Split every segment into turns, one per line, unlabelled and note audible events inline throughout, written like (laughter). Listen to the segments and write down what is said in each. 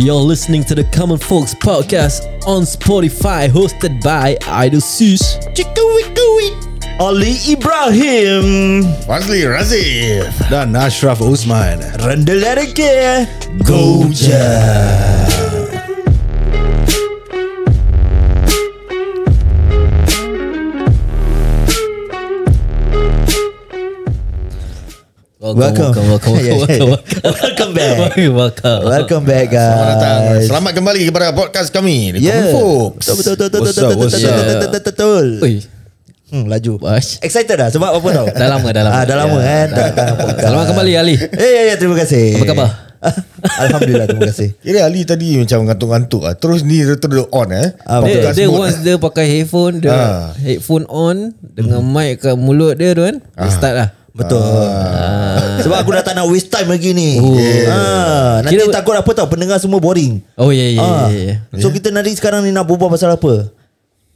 You're listening to the Common Folks podcast on Spotify, hosted by Idol Sis, Ali Ibrahim,
Fazli Razif
dan Ashraf Usman.
Randall Erike,
eh.
Welcome, welcome,
Welcome.
welcome, welcome,
(laughs) Yeah, yeah.
welcome, welcome, (laughs) welcome back, welcome, welcome,
Welcome back guys.
Selamat datang Selamat kembali kepada podcast kami The
Yeah.
Common Folks
Betul betul betul
What's up,
betul betul
what's
betul
up?
betul, betul, betul. betul.
Oi,
Hmm laju.
Bash.
Excited dah sebab apa tau?
(laughs) Dah lama, dah lama.
Ah, dah lama
Ya,
kan.
dah
Tak
lama.
datang podcast.
Selamat kembali, Ali.
Eh ya ya terima kasih.
Apa khabar?
(laughs) Alhamdulillah terima kasih.
Kira Ali tadi macam ngantuk-ngantuk lah. Terus ni dia terus on eh
Ah,
Podcast
Dia, dia
mode.
once dia pakai headphone, dia
Ah.
headphone on dengan
Mhm.
mic kat mulut dia tu kan,
Ah.
dia start lah.
Betul.
Ah.
Sebab aku dah tak nak waste time lagi ni. Ah, nanti
Oh. Kira-
takut apa tau pendengar semua boring.
Oh yeah, yeah,
Ah.
yeah, yeah. yeah.
So kita nanti sekarang ni nak berbual pasal apa?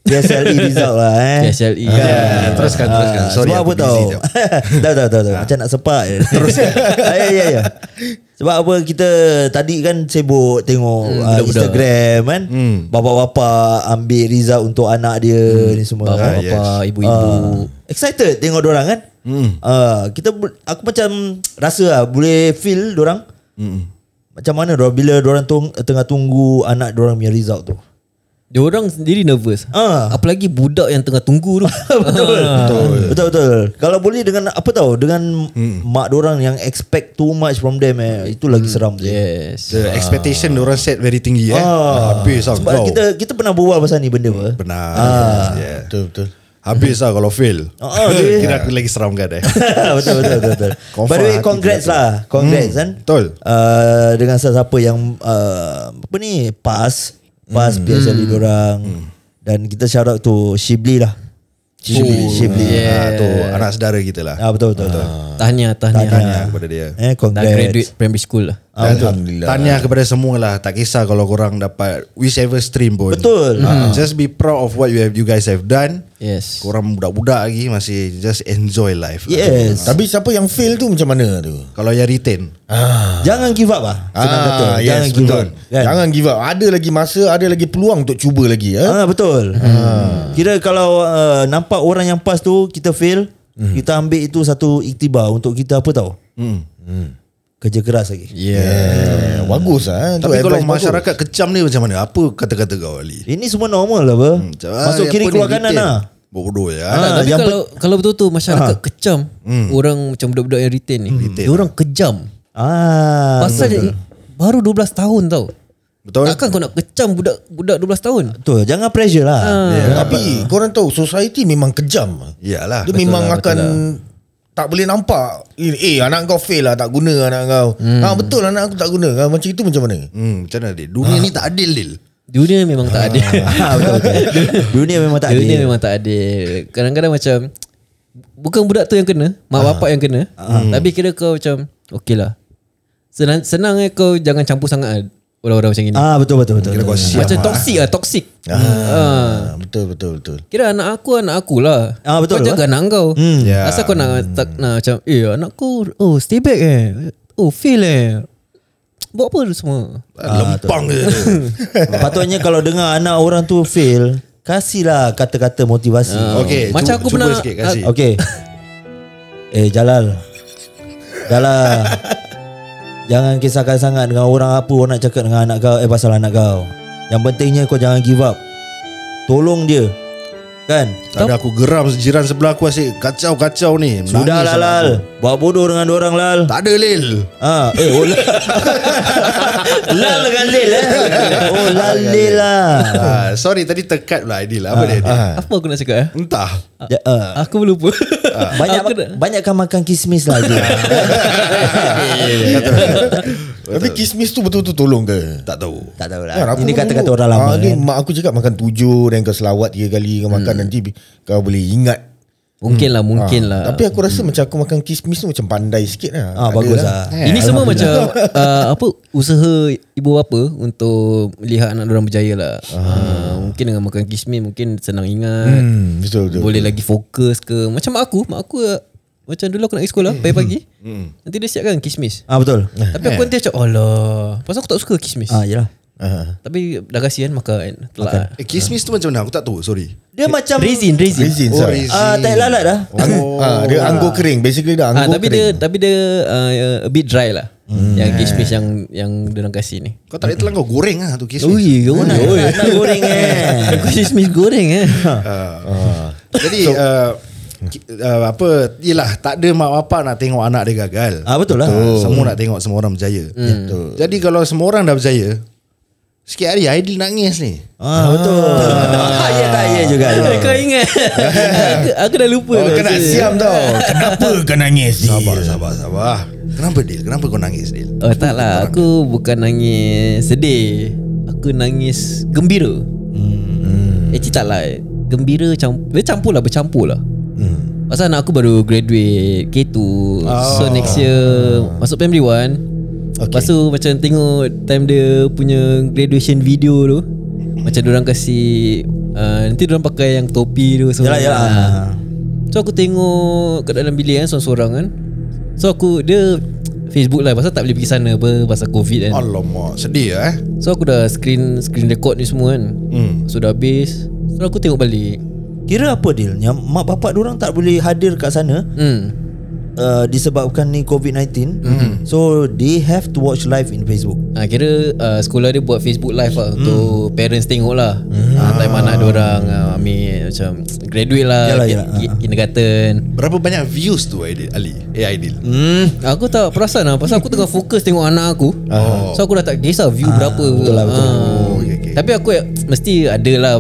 PSLE result lah eh.
(laughs) PSLE.
Kan?
Yeah,
teruskan, teruskan.
Ah,
Sorry,
Sebab
aku
apa
busy
tau? (laughs)
jap.
Dah dah dah dah. Macam nak sepak.
(laughs)
je. Ah, Ya ya ya. Sebab apa kita tadi kan
Hmm,
sibuk tengok ah,
budak-budak.
Instagram kan.
Hmm.
Bapak-bapak ambil result untuk anak dia ni semua. kan?
Bapa-bapa,
yes.
Hmm, ibu-ibu.
Ah, excited tengok orang kan.
Hmm.
Mm. Uh, kita ber- aku macam rasa lah, boleh feel orang. Mm. Macam mana dorang bila orang tung, tengah tunggu anak orang punya result tu.
Dia orang sendiri nervous.
Ah.
Apalagi budak yang tengah tunggu tu.
(laughs)
Ah.
betul, betul. Betul betul. Kalau boleh dengan apa tahu dengan
Hmm.
mm. mak orang yang expect too much from them eh itu lagi seram tu.
yes.
Ah.
The expectation orang set very tinggi eh.
Ah,
Habis lah
Sebab
kau.
kita kita pernah berbual pasal ni benda apa?
Benar.
Ah.
Yeah.
Betul-betul
Habis lah kalau fail.
(laughs) Ah, ah, dia-
Kira aku lagi seram kan
(laughs)
eh.
betul betul betul. betul.
Confirm
By the way,
hati
congrats
berat.
lah, congrats
Hmm,
kan.
betul.
Uh, dengan sesiapa yang uh, apa ni pass pass hmm. PSLE dorang
Hmm.
dan kita shout out to Shibli lah. Shibli, Shibli.
yeah.
Ah, tu anak saudara kita lah.
Ah betul betul betul.
Tahniah, tahniah.
Tanya kepada dia.
Eh
Dah
congrats.
graduate primary school lah.
Ah,
Dan
Alhamdulillah.
Tanya kepada semua lah Tak kisah kalau korang dapat Whichever stream pun
Betul. Hmm.
Ah, Just be proud of what you have you guys have done
Yes.
Korang budak-budak lagi Masih just enjoy life lah.
Yes.
Tapi siapa yang fail tu macam mana tu
Kalau yang retain
Ah, Jangan give up ah. Senang kata.
Ah,
Jangan
yes,
give
betul.
up. Kan?
Jangan eh? give up. Ada lagi masa, ada lagi peluang untuk cuba lagi. Eh?
Ah betul. Kira kalau uh, nampak orang yang pass tu kita fail, kita ambil itu satu iktibar untuk kita apa tahu? Hmm. Kerja keras lagi.
Yeah. Bagus lah. eh. Tu
Ya. Tapi kalau
advice bagus.
masyarakat kecam ni macam mana Apa kata-kata kau Ali
Ini semua normal lah apa.
Macam, ah,
Masuk
yang
kiri
apa ni,
keluar kanan
retain?
lah.
Bodoh je ah.
Tak,
Ah,
tapi
yang
kalau kalau betul tu masyarakat kecam orang macam budak-budak yang retain ni. Dia orang kejam.
Ah.
Pasal dia- baru 12 tahun tau.
Betul
Takkan kau nak kecam budak budak 12 tahun?
Betul, jangan pressure lah.
Yeah. Ya. Tapi korang tahu society memang kejam.
eh, Iyalah. lah,
Dia memang akan tak boleh nampak. Eh, eh anak kau fail lah tak guna anak kau. Hmm. Ah betul anak aku tak guna. Ah, macam itu macam mana?
Hmm, macam mana Dil? Dunia ni tak adil Dil
Dunia memang tak (laughs) adil.
Ah, betul, betul. Dunia memang tak
Dunia
adil.
memang tak adil. Kadang-kadang macam bukan budak tu yang kena, mak bapak yang kena. Tapi kira kau macam okey lah. Senang senang eh kau jangan campur sangat lah orang-orang macam ni.
Ah betul betul betul.
Kira kau
betul.
siap
macam toksik lah, toksik.
Ah, betul betul betul.
Kira anak aku anak akulah.
Ah, betul
Kau
lah.
jaga anak kau. Hmm.
Ya.
Asal kau nak tak nak macam eh anak kau oh stay back eh. Oh fail eh. Buat apa tu semua?
Ah,
Ah,
Lempang je (laughs)
(laughs) Patutnya kalau dengar anak orang tu fail, kasihlah kata-kata motivasi.
Okay
Ah, Macam
cuba-
aku
cuba
pernah-
sikit, kasih.
Okay Eh Jalal Jalal Jangan kisahkan sangat dengan orang apa Orang nak cakap dengan anak kau Eh pasal anak kau Yang pentingnya kau jangan give up Tolong dia Kan
Tak ada aku geram jiran sebelah aku asyik kacau-kacau ni. Menangis
Sudah lah
aku.
Lal Buat bodoh dengan orang Lal
Tak ada Lil.
Ha, eh, oh, Lal (laughs) Lal dengan Lil eh Oh Lal Lil (laughs) lah
Ah, sorry tadi terkat pula Aidil.
Ah,
Apa dia? Aidil?
Apa aku nak cakap eh?
Entah.
ja, uh,
Ah.
Aku lupa.
banyak
Aku dah-
banyakkan makan kismis lah dia.
Tapi kismis tu betul-betul tolong ke?
Tak tahu.
tak tahulah.
Kan, aku
Ini
pun
kata-kata
dulu,
orang lama.
ah, ni
kan?
Mak aku cakap makan tujuh Dan kau selawat tiga kali Kau
Hmm.
makan nanti bi- Kau boleh ingat
Mungkin lah, mungkin lah.
Ah, Tapi aku rasa macam Aku makan kismis tu Macam pandai sikit lah
Ah,
Ada
bagus lah.
Ini semua macam
(laughs)
uh, apa usaha ibu bapa untuk lihat anak orang berjaya lah.
Ah.
Uh, mungkin dengan makan kismis mungkin senang ingat.
Hmm, Betul betul
Boleh lagi fokus ke Macam mak aku Mak aku uh, Macam dulu aku nak pergi
Hmm.
sekolah Pagi-pagi Nanti dia siapkan kismis
Ah betul.
Eh.
Tapi aku nanti macam Alah Pasal aku tak suka kismis
Ah yalah.
Ah.
Tapi dah kasi kan makan Telah
Eh, kismis tu macam mana? Aku tak tahu, sorry.
Dia macam
Resin Resin,
Resin
Oh,
sorry.
resin.
Ah tai lalat dah.
Anggur, ah, dia anggur kering. Basically dia
Ah,
anggur
tapi dia
kering.
tapi dia uh, a bit dry lah.
Hmm.
Yang
Eh.
kismis yang yang dia orang kasi ni.
Kau tak boleh telan kau goreng lah tu kismis.
Ui, kau
Nak, nak, nak goreng eh.
Kismis goreng eh.
Jadi uh, ki- uh, apa Yelah tak ada mak bapak nak tengok anak dia gagal
Ah, betul lah.
Ah, Semua nak tengok semua orang berjaya Betul. Jadi kalau semua orang dah berjaya Sikit hari Aidil nangis ni
Ah betul. (laughs) Ah ya tak ya juga. ya.
Kau
(laughs)
ingat aku, aku dah lupa
Oh,
tu.
kena siam tau. Kenapa kau nangis?
Sabar sabar sabar Ya. Kenapa Dil? Kenapa kau nangis Dil?
Oh tak lah Aku bukan nangis sedih Aku nangis gembira hmm. Eh tak lah Gembira campur Dia campur lah Bercampur lah hmm. Pasal anak aku baru graduate K2 oh. So next year Masuk primary 1 okay. Lepas tu macam tengok Time dia punya Graduation video tu Macam orang kasi uh, Nanti orang pakai yang topi tu semua.
Yalah yalah.
So aku tengok kat dalam bilik kan seorang-seorang kan. So aku dia Facebook live pasal tak boleh pergi sana apa pasal COVID kan.
Alamak sedih eh
So aku dah screen screen record ni semua kan. Hmm. So dah habis. So aku tengok balik.
Kira apa dealnya mak bapak orang tak boleh hadir kat sana
Hmm.
uh, disebabkan ni COVID-19. So they have to watch live in Facebook.
Ha, kira uh, sekolah dia buat Facebook live lah Untuk parents tengok lah hmm. ha, Time anak diorang uh, Ambil macam Graduate lah
Yalah,
ki-
yalah.
ki- Kindergarten
Berapa banyak views tu Aidil Ali? Eh Aidil
hmm. Aku tak perasan lah Pasal aku tengah fokus tengok anak aku
Oh.
So aku dah tak kisah view berapa Betul lah betul
Oh, okay, okay.
Tapi aku ya, mesti ada lah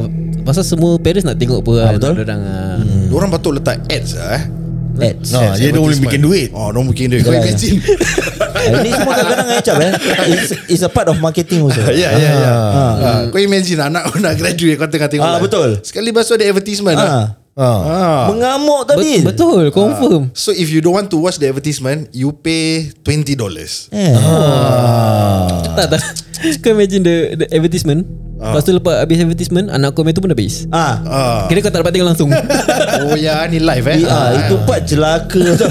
Pasal semua parents nak tengok apa ha, Betul Orang hmm.
Diorang patut letak ads lah eh
Ads.
No, dia dah boleh
Advertisement.
bikin duit.
Oh, diorang bikin duit Kau
Yalah,
imagine
Eh, Ini semua kadang-kadang ngecap eh. It's, it's a part of marketing also. (laughs)
Ya ya ya. Kau imagine lah, anak kau nak graduate kau tengah tengok.
Ah,
live.
betul.
Sekali basuh ada advertisement.
Ah.
Ah.
Ah.
Ah.
Mengamuk tadi.
Bet- Betul confirm
So if you don't want to watch the advertisement, you pay $20.
(laughs) Eh.
Tak (laughs) tak Kau imagine the, the advertisement Lepas tu lepas habis advertisement Anak kau main tu pun habis
Ah.
Ah.
Kira kau tak dapat tengok langsung
Oh ya, ni live
Eh,
eh.
ah, itu part celaka
(laughs) tu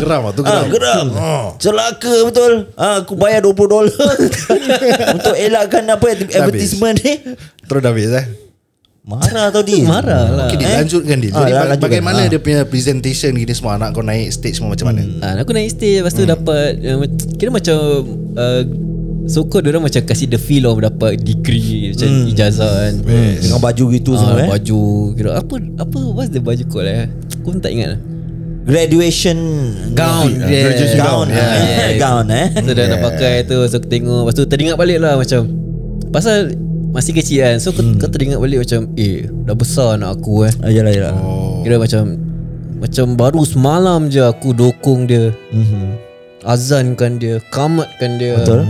geram ah, tu
Ah,
geram.
geram.
Hmm.
Ah.
Celaka betul. Ah, aku bayar 20 dolar
(laughs)
(laughs) untuk elakkan apa advertisement ni.
Terus dah habis eh.
Marah tau dia.
Marah lah okay.
Okay, Dil,
Eh?
lanjutkan
Ah,
Dil. Jadi
lah,
baga-
lanjutkan.
bagaimana
Ah. Hmm.
dia punya presentation gini semua anak kau naik stage semua macam mana?
Ah, Aku naik stage Lepas tu dapat uh, Kira macam uh, So-called diorang macam Kasih the feel of Dapat degree Macam ijazah kan
Dengan baju gitu semua
Ah,
eh.
Baju Kira apa Apa What's the baju called eh Aku pun tak ingat lah Eh,
Graduation
Ah, Gown yeah.
Graduation gown.
yeah.
eh.
Yeah.
Gown eh.
So dah nak pakai tu So aku tengok Lepas tu teringat balik lah macam Pasal Masih kecil kan So hmm. kau teringat balik macam Eh dah besar anak aku eh
Ah, yalah yalah.
Kira macam Macam baru semalam je aku dokong dia Mm-hmm. Azankan dia Kamatkan dia
Betul.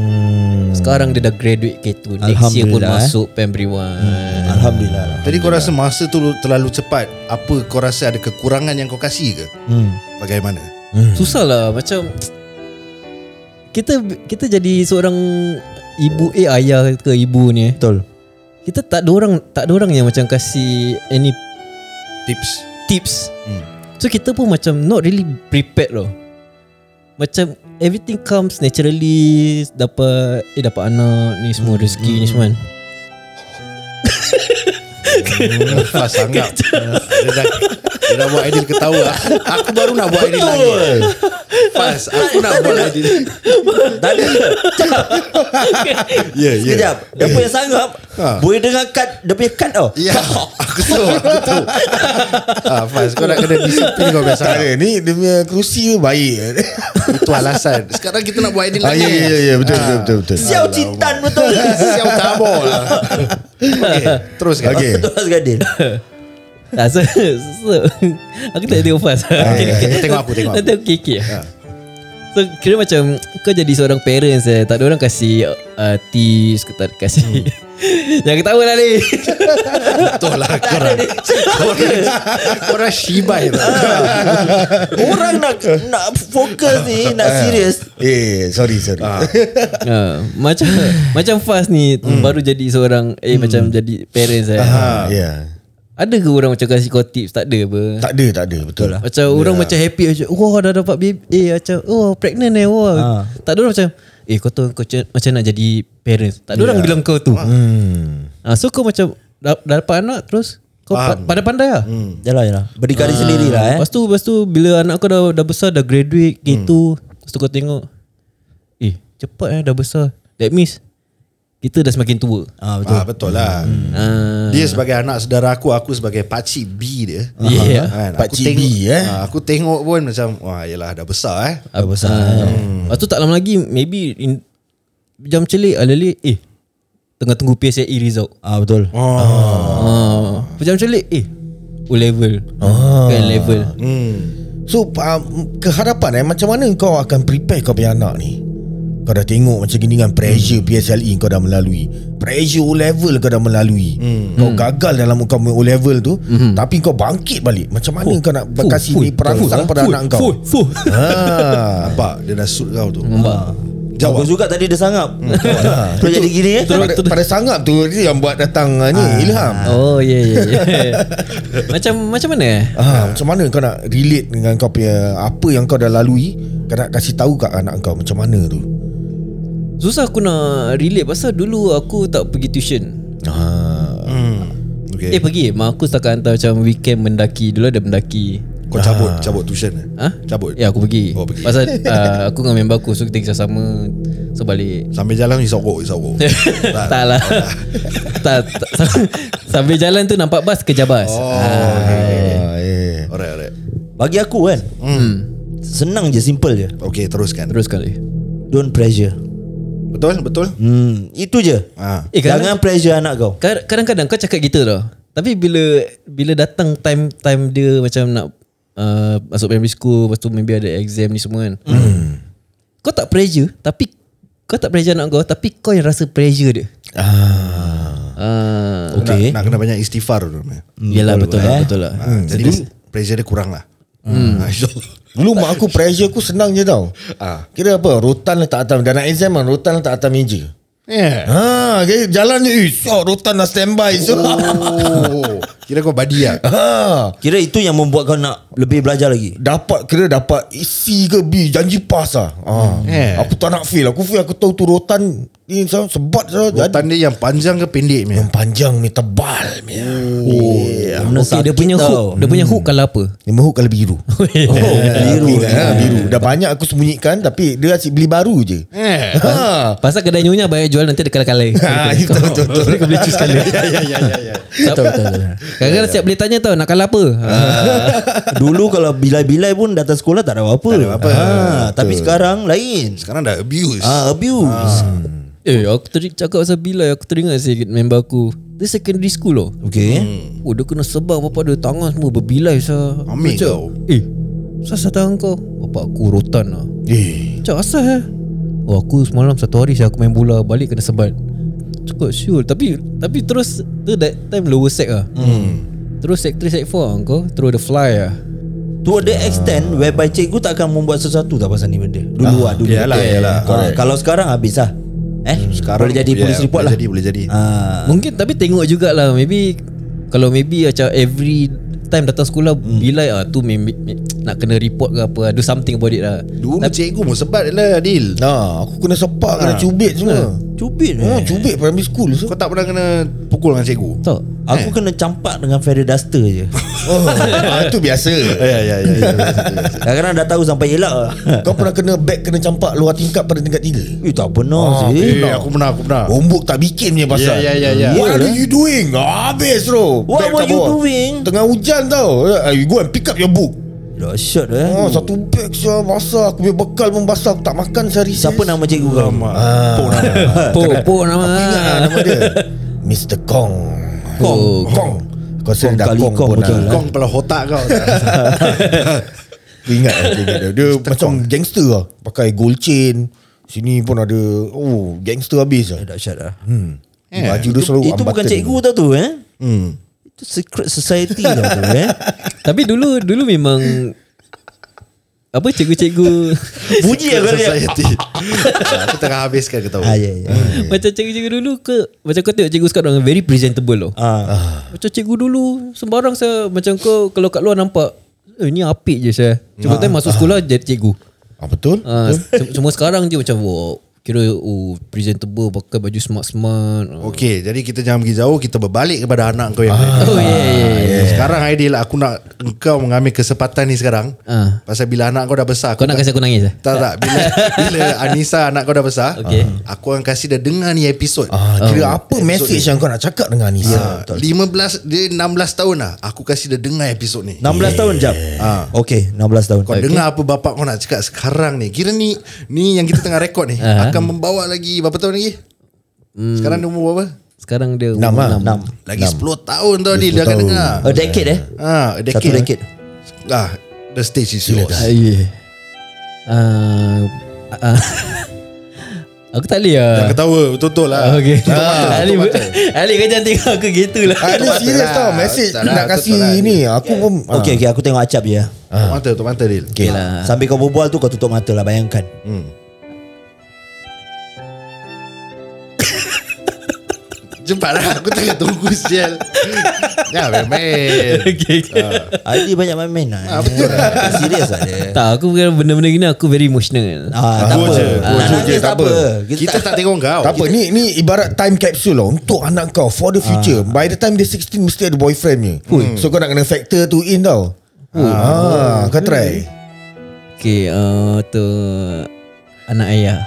Sekarang dia dah graduate K2 Next year pun
Alhamdulillah, eh.
masuk Primary 1
Alhamdulillah. lah.
Jadi kau rasa masa tu terlalu cepat. Apa kau rasa ada kekurangan yang kau kasih ke?
Hmm.
Bagaimana?
Susah lah macam Kita kita jadi seorang Ibu eh ayah ke ibu ni eh
Betul.
kita tak ada orang tak ada orang yang macam kasi any
Tips.
tips.
Hmm.
So kita pun macam not really prepared loh. Macam everything comes naturally dapat eh dapat anak ni semua rezeki ni semua. kan.
Lepas sangat (laughs) dia dah, dia dah buat Aidil ketawa (laughs) Aku baru nak buat Aidil lagi Pas Aku nak buat Aidil
Tadi
Ya ya
Sekejap Dia punya sanggup
Ha.
Boleh dengar cut Dia punya cut oh. tau
Ya Aku tahu Aku tahu (laughs) ah, Fas kau nak kena disiplin kau
Tak
biasa
ada ni dia punya kerusi tu baik.
Itu alasan Sekarang kita nak buat Aidil
ah,
lagi
ya ya ya, ya betul, betul betul betul.
Siau cintan betul
Siap tabor lah (laughs) Okay Teruskan
Okey.
Terus Gadil
Ah, so, so, aku tak tengok fast.
okay. Eh, Tengok aku, tengok aku. Ah.
Nanti aku kekek. So kira macam kau jadi seorang parents eh, tak ada orang kasi uh, tips, kau tak kasi.
Hmm.
(laughs) Jangan ketawa lah ni.
Betul lah
(laughs)
korang Korang Korang shibai lah
(laughs) Orang nak Nak fokus ni Nak serius
Eh, sorry sorry.
Ah.
Ha, macam
Hmm.
macam Faz ni baru jadi seorang eh macam jadi parents eh.
Ah, (laughs) ya.
Ada ke orang macam kasi kau tips Tak ada apa
Tak ada tak ada Betul lah
Macam
Ya.
orang macam happy macam Wah dah dapat baby Eh macam Oh pregnant eh Wah
Ha.
Tak ada orang macam Eh kau tu kau macam, macam nak jadi parents Tak ada orang
Ya.
bilang kau tu
hmm.
ha, So kau macam Dah, dah dapat anak terus Kau pa- pandai-pandai lah hmm.
Yalah yalah Berdikari sendiri lah eh Hmm.
Lepas tu Lepas tu Bila anak kau dah, dah besar Dah graduate gitu Lepas tu kau tengok Eh cepat eh dah besar That means Kita dah semakin tua
Ah betul.
Ah, betul lah
Ah.
Dia sebagai anak saudara aku Aku sebagai pakcik B dia
Ya,
Yeah.
kan? aku
Pakcik
tengok,
B, eh?
ah, Aku tengok pun macam Wah yelah dah besar eh
Dah besar.
Hmm. Lepas tu tak lama lagi Maybe in, Jam celik Alali Eh Tengah tunggu PSLE result
Ah betul.
ah. Jam celik Eh O level ah. Kan level
So um, Kehadapan eh Macam mana kau akan prepare kau punya anak ni Kau dah tengok macam gini kan Pressure PSLE kau dah melalui Pressure O-level kau dah melalui Kau gagal dalam kau punya O-level tu Tapi kau bangkit balik Macam mana kau nak
Fuh,
Kasih
fuh,
ni perangsang
fuh,
pada
fuh,
anak kau
fuh, fuh.
ha. Eh,
Nampak dia dah suit kau tu
Jawab. Hmm. Bagus juga tadi dia sangap. (laughs) Kau jadi gini eh.
pada, pada sangat tu dia yang buat datang ah, ni Ilham.
Oh yeah, yeah, yeah. (laughs) Macam macam mana eh
Ah, macam mana kau nak relate dengan kau punya apa yang kau dah lalui? Kau nak kasih tahu kat anak kau macam mana tu?
Susah aku nak relate Pasal dulu aku tak pergi tuition
Ah.
hmm.
okay.
Okay
Eh pergi Mak aku setakat hantar macam Weekend mendaki Dulu ada mendaki
Kau cabut Cabut tuition eh?
Ha?
Cabut
Ya aku pergi,
Oh, pergi.
Pasal uh, aku dengan member aku So kita kisah sama So balik
Sambil jalan Isogok Isogok
tak lah tak, tak, sam- Sambil jalan tu nampak bas kejar bas oh.
Ah, eh.
Alright alright
Bagi aku kan. Senang je, simple je.
Okay teruskan
Ah, Terus kali
Don't pressure.
Betul betul
Hmm, itu je.
Ah.
Eh, kadang-
Jangan pressure anak kau.
Kad- Kadang-kadang kau cakap gitu tau Tapi bila Bila datang time Time dia macam nak uh, Masuk primary school Lepas tu maybe ada exam ni semua kan Kau tak pressure Tapi Kau tak pressure anak kau Tapi kau yang rasa pressure dia
Ah.
uh,
Okay.
Nak, nak kena banyak istighfar tu hmm.
Yelah betul, lah Betul lah
ha,
Hmm,
Jadi pressure dia kurang lah hmm. ha, InsyaAllah
Dulu mak aku pressure aku senang je tau.
Ah.
Kira apa? Rotan letak atas dan nak exam kan rotan letak atas meja.
Yeah.
Ha, okay, jalan je. Eh, syok, rotan dah standby. So.
Oh, kira kau badi lah.
(laughs) ha.
Kira itu yang membuat kau nak lebih belajar (laughs) lagi.
Dapat kira dapat C ke B Janji pass lah ha.
Eh.
Aku tak nak fail Aku fail aku tahu tu rotan Ni so- sebat so,
Rotan dia yang panjang ke pendek ni?
Yang panjang ni tebal Oh yeah.
Benda
Okay Ya, dia
sakit
punya
tau.
hook Dia punya hook kalau apa
Dia mahuk kalau biru
Hmm. Oh, (laughs)
Eh,
biru, ha, biru. Dah banyak aku sembunyikan Tapi dia asyik beli baru je
Eh.
Ha.
Pasal kedai nyonya banyak jual nanti ada
(laughs)
kalai-kalai
Ha, betul, betul, betul.
Kau boleh choose kalai
Ah, Ya, ya, ya, ya, ya. Ah.
Betul betul. Kadang-kadang siap boleh tanya tau nak kalah apa. Ha.
Dulu kalau bilai-bilai pun datang sekolah tak ada apa-apa. Tak ada apa. Ha, tapi sekarang lain.
Sekarang dah abuse.
Ah abuse.
Eh aku tadi cakap pasal bilai aku teringat sikit member aku. Dia secondary school loh.
Okay.
Oh dia kena sebab bapa dia tangan semua berbilai sah.
Ambil kau.
Eh, sah tangan kau. Bapa aku rotan lah.
Eh.
Cak asal eh? Oh aku semalam satu hari saya aku main bola balik kena sebat. Cukup sure tapi tapi terus tu that time lower sec ah.
Hmm.
Terus sec 3 sec 4 kau throw the fly ah.
To the extent whereby cikgu tak akan membuat sesuatu tak pasal ni benda. Dulu ah, dulu.
Yalah, yalah.
Ah, kalau sekarang habis lah. Eh, sekarang boleh jadi
ya,
yeah,
polis report
Ya, boleh
lah.
Jadi, boleh jadi.
Ah,
Mungkin tapi tengok jugalah Maybe Kalau maybe macam every Time datang sekolah hmm. Bilai ah tu maybe, Nak kena report ke apa Do something about it lah
Dulu cikgu pun sebat lah, Adil.
Nah, aku kena sepak kena cubit semua.
cubit
Ha,
eh.
cubit primary school so.
Kau tak pernah kena pukul dengan cikgu?
(laughs) Tak
Aku kena campak dengan feather duster je.
Oh, ah, itu biasa.
Ya, ya, ya. ya.
Kadang-kadang dah tahu sampai elak. (laughs) lah.
Kau pernah kena beg kena campak luar tingkap pada tingkat tiga?
Eh tak benar
Ah,
sih.
Eh, aku pernah, aku pernah.
Homework tak bikin punya pasal
Ya, ya, ya, ya.
What are you doing? Habis bro
What
Bag
were
kat
you
bawah.
doing?
Tengah hujan tau Eh, You go and pick up your book
Dah shot eh.
Oh, satu beg saya basah Aku punya bekal pun basah Aku tak makan sehari
Siapa nama cikgu kau?
Ah,
Po po nama
Aku ingat lah
(laughs)
nama
(laughs)
dia Mr. Kong
Kong.
Kong Kau rasa
Kong
dah
kali
Kong
Kong
pun
betul
lah.
lah.
Kong kepala otak kau.
Aku ingat lah, aku ingat dia Dia macam gangster lah Pakai gold chain Sini pun ada Oh gangster habis lah
Dah shot lah.
Baju dia selalu
Itu bukan
unbutton.
cikgu tau tu eh.
Hmm.
Itu secret society tau tu eh.
Tapi dulu Dulu memang apa
(laughs)
cikgu-cikgu
Bunyi aku dia.
society. Ah, Aku tengah habiskan ketawa.
Ah, ya, ya.
macam cikgu-cikgu dulu ke macam kau tengok cikgu sekarang very presentable loh.
Ah.
Macam cikgu dulu sembarang saya macam kau kalau kat luar nampak eh, ni apik je saya. Cuma time masuk sekolah jadi cikgu.
Ah, betul?
Ah, se- cuma sekarang je macam wow, kira oh, presentable pakai baju smart-smart.
Okey, jadi kita jangan pergi jauh, kita berbalik kepada anak kau yang ah,
Oh, yeah, yeah,
Sekarang Aidil, aku nak engkau mengambil kesempatan ni sekarang.
Ah.
Pasal bila anak kau dah besar,
Kau nak kasi aku nangis eh?
tak tak bila bila Anissa anak kau dah besar, okay. aku akan kasih dia dengar ni episod.
Ah, kira apa message yang kau nak cakap dengan
Ya.
Anissa?
Ah, 15 dia 16 tahun lah. Aku kasih dia dengar episod ni.
16 tahun jap. Ah. Okey, 16 tahun.
Kau okay. dengar apa bapak kau nak cakap sekarang ni. Kira ni ni yang kita tengah rekod ni
Ah.
akan membawa lagi berapa tahun lagi? Sekarang dia umur berapa?
Sekarang dia
Enam
enam.
lah.
ah.
Enam.
Lagi 10 tahun tau Adil Dia akan dengar
A decade eh.
Ah, a
Satu decade.
Ah, the stage is yours
Ah, yeah. Ah, ah, (laughs) aku tak boleh lah.
Jangan ketawa Betul-betul lah
Okay.
Tutup mata,
Ali,
tutup mata.
(laughs) Ali kau jangan tengok aku gitu lah.
Ah,
Betul
Dia serius
lah.
tau Message
Betul lah,
nak
betul
kasih
lah.
ni Aku pun ah.
Okey, okey aku tengok acap je. ya.
Tutup mata Tutup mata Adil
Okay
Ah.
lah
Sambil kau berbual tu kau tutup mata lah bayangkan.
hmm. Cepatlah lah, Aku tengah tunggu (laughs) sial Ya main-main
(laughs) Okay, okay.
Ali banyak main-main lah.
Ah, betul lah.
(laughs) Serius lah dia.
Tak, aku bukan benda-benda gini aku very emotional.
Ah, tak
Go
apa.
je, go
Nak
je,
nangis
tak
tak apa.
Kita tak tengok kau
ah, tak apa ni ni ibarat time capsule lah untuk anak kau for the future. By the time dia 16 mesti ada boyfriendnya. So kau nak kena factor tu in tau. Ah, kau try.
Okay, uh, tu anak ayah.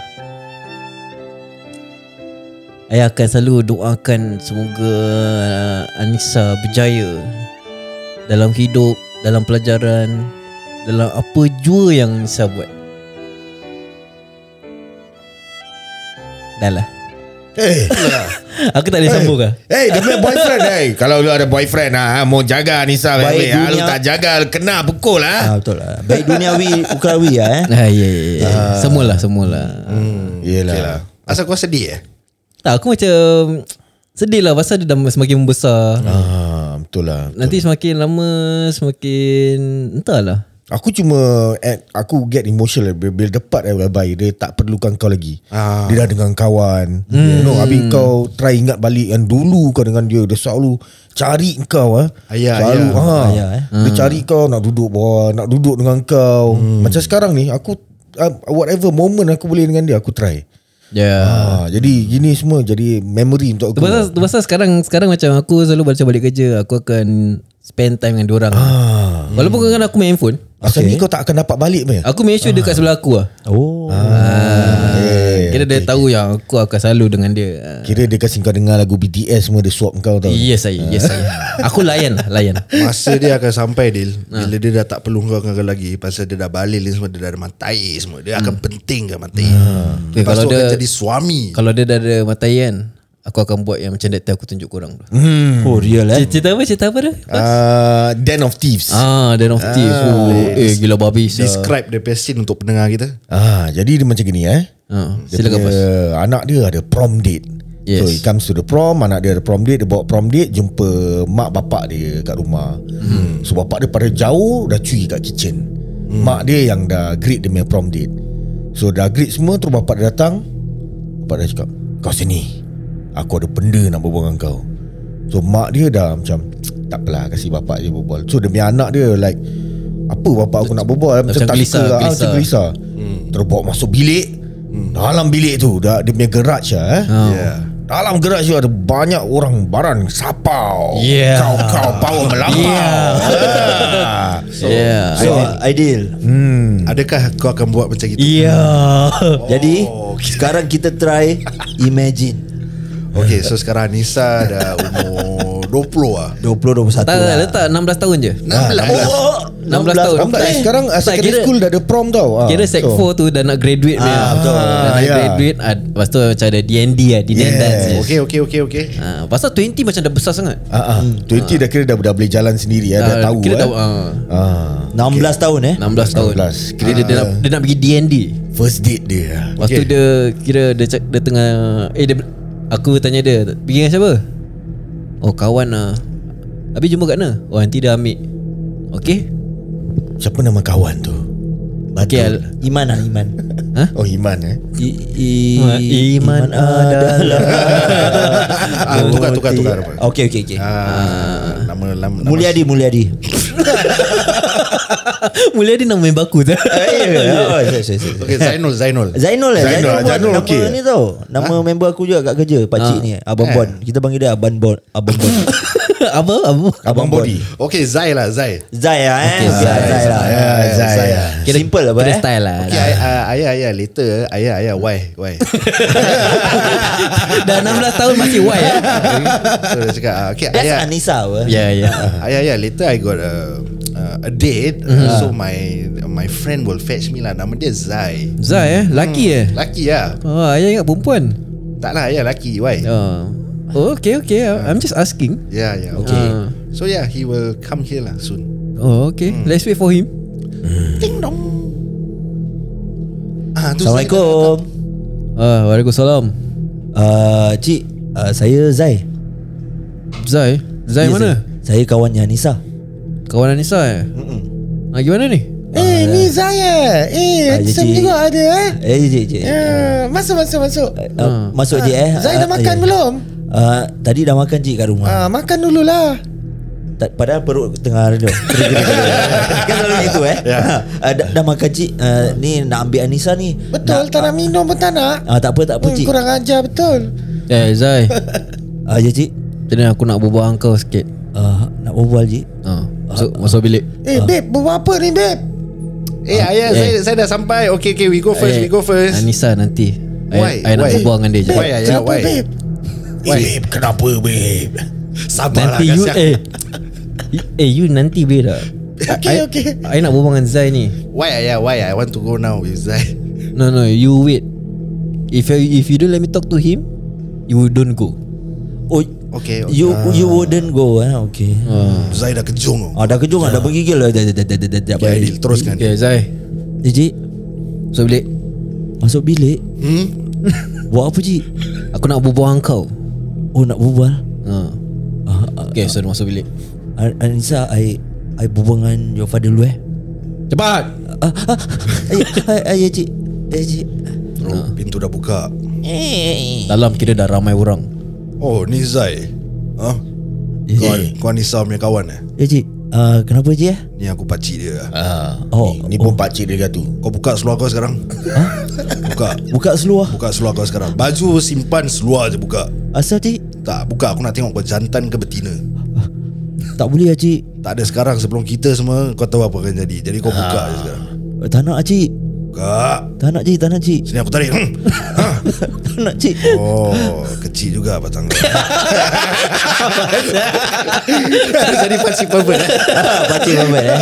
Ayah akan selalu doakan semoga uh, Anissa berjaya dalam hidup, dalam pelajaran, dalam apa jua yang Anissa buat. Dah lah.
Eh,
Aku tak boleh sambung lah. ke?
hey, dia punya boyfriend hey. Kalau lu ada boyfriend ah, mau jaga Anissa
Baik
baik-baik. Ah, lu
dunia.
tak jaga kena pukul
Ah,
ah.
betul lah. Baik duniawi, ukrawi lah eh.
Ah, ya, ya, ya. Semualah, semualah.
Hmm.
Yelah.
lah.
Asal kau sedih eh
Tak, aku macam sedih lah pasal dia dah semakin membesar.
Hmm.
Ah, betul lah.
Nanti semakin lama Semakin Entahlah
Aku cuma at, Aku get emotional Bila, bila dapat eh, bye-bye Dia tak perlukan kau lagi
Ah. Hmm.
Dia dah dengan kawan You know Habis kau Try ingat balik Yang dulu kau dengan dia Dia selalu Cari kau eh.
Ayah,
selalu,
ayah.
Ha,
Ayah, eh.
Dia cari kau Nak duduk bawah Nak duduk dengan kau
Hmm.
Macam sekarang ni Aku uh, Whatever moment Aku boleh dengan dia Aku try
Ya yeah.
Ah, Jadi gini semua Jadi memory untuk
Tu
aku
pasal, tu pasal sekarang Sekarang macam aku selalu Macam balik kerja Aku akan Spend time dengan diorang
ah,
Walaupun kadang-kadang aku main handphone
Asal ni kau tak akan dapat balik punya
Aku make sure dia
Ah.
kat sebelah aku lah
Oh.
yeah, Kira dia tahu yang Aku akan selalu dengan dia Ah.
Kira dia kasi kau dengar lagu BTS semua Dia suap kau tau
Yes saya Yes
(laughs)
saya Aku layan lah Layan
Masa dia akan sampai Dil Bila dia dah tak perlu kau kau lagi Pasal dia dah balik ni semua Dia dah ada matai semua Dia akan penting ke matai
Eh,
Lepas
kalau
tu akan
dia-
jadi suami
Kalau dia dah ada matai kan Aku akan buat yang macam That time aku tunjuk korang tu
Oh, real eh.
Cerita apa Cerita apa dia
Hmm. Ah, Den of Thieves
Ah Dan of Thieves Oh, Eh gila babi sia.
Describe the person untuk pendengar kita
Ah, jadi dia macam gini eh.
Ah,
Dia
Silakan
punya
pas
Anak dia ada prom date.
Yes.
So it comes to the prom, anak dia ada prom date, dia bawa prom date jumpa mak bapak dia kat rumah. Hmm. So bapak dia pada jauh dah cuci kat kitchen. Hmm. Mak dia yang dah grade dia punya prom date. So dah grade semua terus bapak dia datang. Bapak dia cakap, "Kau sini. Aku ada benda nak berbual dengan kau." So mak dia dah macam tak apalah kasi bapak dia berbual. So demi anak dia like apa bapak aku nak berbual macam,
Macam
tak
gelisah,
suka, ah, macam
gelisah.
gelisah besar hmm. Terus bawa masuk bilik hmm. Dalam bilik tu dah, Dia punya garage lah eh.
Ah.
yeah.
Dalam garage tu ada banyak orang Barang sapau
Yeah.
Kau-kau power melampau Ah. yeah.
(laughs)
So,
Yeah
So, ideal.
hmm.
Adakah kau akan buat macam itu
Ya
Oh,
Jadi, sekarang kita try imagine.
Okay so sekarang Nisa dah umur 20 lah
20-21
Tak tak
lah.
letak 16 tahun je
16
Oh,
16 tahun
Nampak eh, sekarang uh,
Tak,
Secondary
kira-
school dah ada prom tau Ah,
Kira sec 4 tu dah nak graduate punya.
Ah, betul.
Dah nak
ya.
graduate ah, Lepas tu macam ada D&D lah D&D
Yes.
dance je.
Okay okay okay okay
Ah, Pasal 20 macam dah besar sangat
Ah, ah. 20 dah kira dah, dah boleh jalan sendiri ya, dah
Ah,
tahu.
Kira
eh.
tahu ah,
Ah,
16 tahun eh.
16 tahun
16.
Kira dia,
Ah.
dia, nak, dia nak pergi D&D
first date dia.
Lepas tu dia Kira dia, cak- dia tengah Eh dia, Aku tanya dia Pergi dengan siapa? Oh kawan lah Habis jumpa kat mana? Oh nanti dia ambil Okay
Siapa nama kawan tu?
Okay Al
Iman lah iman
Oh Iman eh
I, i-
Iman adalah-
Ah, tukar tukar tukar. apa?
Okay okay okay
Ah, nama nama nama-
Mulyadi Mulyadi
(laughs) Mulia dia nak main baku tu
Ah, Oh, sorry, sorry, sorry.
Okay, Zainul Zainul.
Zainul lah
Zainul,
Zainul, buat
Zainul
nama
okey.
ni tau Nama member aku juga kat kerja Pakcik ni Abang Bon Kita panggil dia Abang Bon Abang Bon
(laughs) Apa? Apa?
Abang Body
Okay, Zai lah Zai.
Zai lah eh
Okey,
Zai,
Zai,
Zai lah
Ah, Zai
Kira- Simple lah
Kira
eh
style lah
Okay, ay- ah, ayah ayah later ayah ayah why why.
(laughs) Dah 16 tahun masih Y eh?
so dia cakap ah, okay
That's
ayah
Anissa apa
Ya ya
ayah ayah later I got a uh, a date so my my friend will fetch me lah nama dia Zai.
Zai eh Laki eh
Laki lah
Oh ayah ingat perempuan
Tak lah ayah laki why.
Oh Oh okay okay I'm just asking
Yeah yeah ya, okay.
Okay
So yeah he will come here lah soon.
Oh okay Let's wait for him
Ding dong. Ah, tu Zai dah
Assalamualaikum
Ah, Waalaikumsalam
uh, Cik uh, Saya Zai
Zai Zai
Ya,
mana?
Saya kawannya Anissa
Kawan Anissa eh ah, Gimana ni?
Eh ni saya Eh
Ah,
handsome
Cik.
juga ada eh
Eh cik cik
Eh, Masuk masuk masuk
Uh, masuk je eh
Zai dah
Ah,
makan
ya.
belum?
Ah, Tadi dah makan cik kat rumah
Ah, Makan dululah
Ta- Padahal perut tengah
(laughs)
renyum Kan selalu gitu eh
Ya.
Ah, dah, dah makan cik Ah, Ni nak ambil Anissa ni
Betul tak nak minum pun tak nak
Ah, Tak apa tak apa
Hmm,
cik
Kurang ajar betul
Eh Zai
Ah, Ya cik
(laughs) Jadi aku nak berbual dengan kau sikit
Ah, Nak berbual cik
Ah, Masuk, masuk bilik
Eh babe buat apa ni babe?
Eh
eh. Ah,
ayah saya saya dah sampai. Okay okay we go first we go first.
Anissa nanti
Why?
I, I nak
Why?
berbual dengan dia je
Why ayah
Kenapa
why?
babe?
Why?
Eh babe kenapa babe?
Sabarlah
Nanti you
kasih aku.
eh You- Eh you nanti boleh tak I,
Okay, okay.
I nak berbual dengan Zai ni
Why ayah why I want to go now with Zai. (laughs)
No no you wait If you, if you don't let me talk to him You don't go
Oh
Okay, okay.
You
Ya.
you wouldn't go eh Okay
Ah.
Zai dah kejung.
Ah, Dah kejung lah Dah bergigil lah Dah dah dah dah dah
Ya,
dah
Okay, Aidil, teruskan.
Okay Zai
Eh cik
Masuk bilik
Masuk bilik
Hmm?
Buat apa cik
Aku nak berbual dengan kau
Oh nak berbual
Ah.
Ah, ah,
Okay so masuk bilik
An- Anissa I I berbual dengan your father dulu eh
Cepat
Ah, ah, ay, ay, ay, ya cik Ya cik
Ah.
Oh, pintu dah buka.
Eh.
Dalam kira dah ramai orang
Oh, ni Zai. Ha?
Ya
Kau,
cik,
kau Anissa punya kawan eh?
ya, cik. Ah, Kenapa cik eh
Ni aku pakcik dia.
Oh
Ni pun pakcik dia tu
Kau buka seluar kau sekarang. (laughs) Buka.
Buka seluar
Buka seluar kau sekarang. Baju simpan seluar je buka.
Asal cik
Tak, buka. Aku nak tengok kau jantan ke betina.
Tak boleh ya cik
Tak ada sekarang sebelum kita semua kau tahu apa akan jadi. Jadi kau buka je sekarang.
Eh, Tak nak ah, cik
Buka.
Tak nak cik Tak nak cik (laughs)
Sini aku tarik. Hmm. Ha.
Tak nak (laughs) cik
Oh, kecil juga batang kau. Jadi pakcik pervert eh?
(laughs) Ah, Pakcik Muhammad eh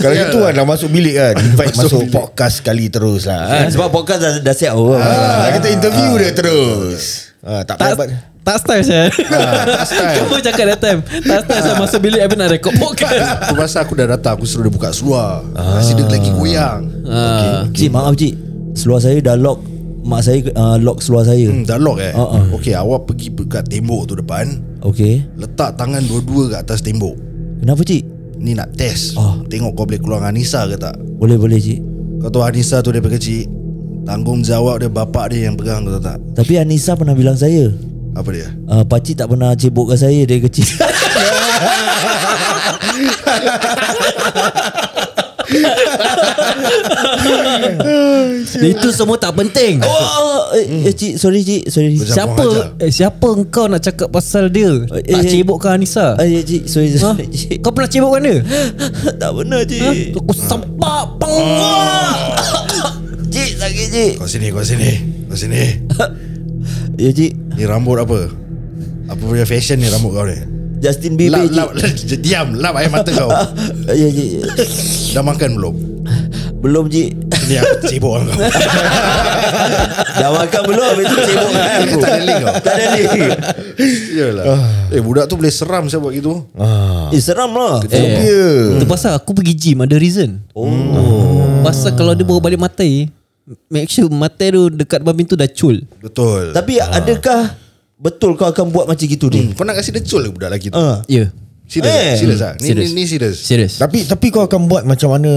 Kalau itu kan dah masuk bilik kan Invite (laughs) masuk podcast sekali terus lah
Ah, Sebab podcast dah, dah siap oh.
ah, Kita interview dia terus ah, Tak
Tak
payah
tak style saya
Ah,
(laughs) Kamu cakap that time Tak style saya masuk bilik Aku nak kan? rekod podcast
Aku rasa aku dah datang Aku suruh dia buka seluar ah. Nasi dia lagi goyang
Ah.
Cik maaf cik Seluar saya dah lock Mak saya uh, lock seluar saya
hmm, Dah lock eh
Ah, ah.
Okay awak pergi dekat tembok tu depan
Okay
Letak tangan dua-dua kat atas tembok
Kenapa cik
Ni nak test
Ah.
Tengok kau boleh keluar dengan Anissa ke tak
Boleh boleh cik
Kau tahu Anissa tu dia kecil Tanggungjawab dia bapak dia yang pegang kau tahu tak
Tapi Anissa pernah bilang saya
Apa dia
uh, Pakcik tak pernah cebokkan saya dari (laughs) kecil
Itu semua tak penting
Oh, eh, eh, cik, sorry cik, sorry.
Macam
Siapa
orang ajar.
eh, Siapa engkau nak cakap pasal dia
Eh,
Tak
eh,
cebokkan Anissa
Ah, ya cik, sorry,
(laughs) Ha?
sorry cik.
Kau pernah cebokkan (gasps) dia
tak benar cik.
Ha? Aku sempak Pengak
(coughs) Cik, sakit cik.
Kau sini kau sini Kau sini
Ya cik,
(laughs) Ni rambut apa Apa punya fashion ni rambut kau ni
Justin Bieber
Lap
cik.
lap (laughs) Diam lap air mata kau
Ah, Ya cik,
Dah makan belum
belum cik.
Ni aku cebok dengan kau
Dah makan belum, habis tu cebok kan aku.
Tak ada link kau
Tak ada ni.
Yalah. Eh budak tu boleh seram saya buat gitu.
Eh, seram lah.
Eh,
Phobia.
Itu pasal aku pergi gym Ada reason Oh Pasal kalau dia bawa balik matai Make sure matai tu Dekat depan pintu dah cul
Betul.
Ah.
Hmm,
Tapi adakah betul kau akan buat macam gitu ni?
kau nak kasi dia cul ke budak lelaki tu?
Ah,
Ya yeah.
Serius
Eh.
eh. Serius ah. Ni, ni,
Serious.
ni serius
Serius
Tapi tapi kau akan buat macam mana